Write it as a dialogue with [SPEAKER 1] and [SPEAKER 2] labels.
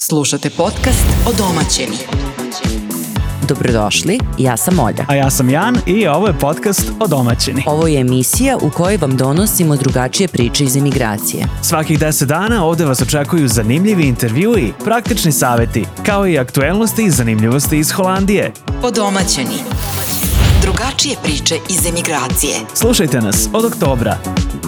[SPEAKER 1] Slušate podcast o domaćeni.
[SPEAKER 2] Dobrodošli, ja sam Olja.
[SPEAKER 3] A ja sam Jan i ovo je podcast o domaćini.
[SPEAKER 2] Ovo je emisija u kojoj vam donosimo drugačije priče iz emigracije.
[SPEAKER 3] Svakih 10 dana ovde vas očekuju zanimljivi intervjui, praktični saveti, kao i aktuelnosti i zanimljivosti iz Holandije.
[SPEAKER 1] O domaćeni. Drugačije priče iz emigracije.
[SPEAKER 3] Slušajte nas od oktobra.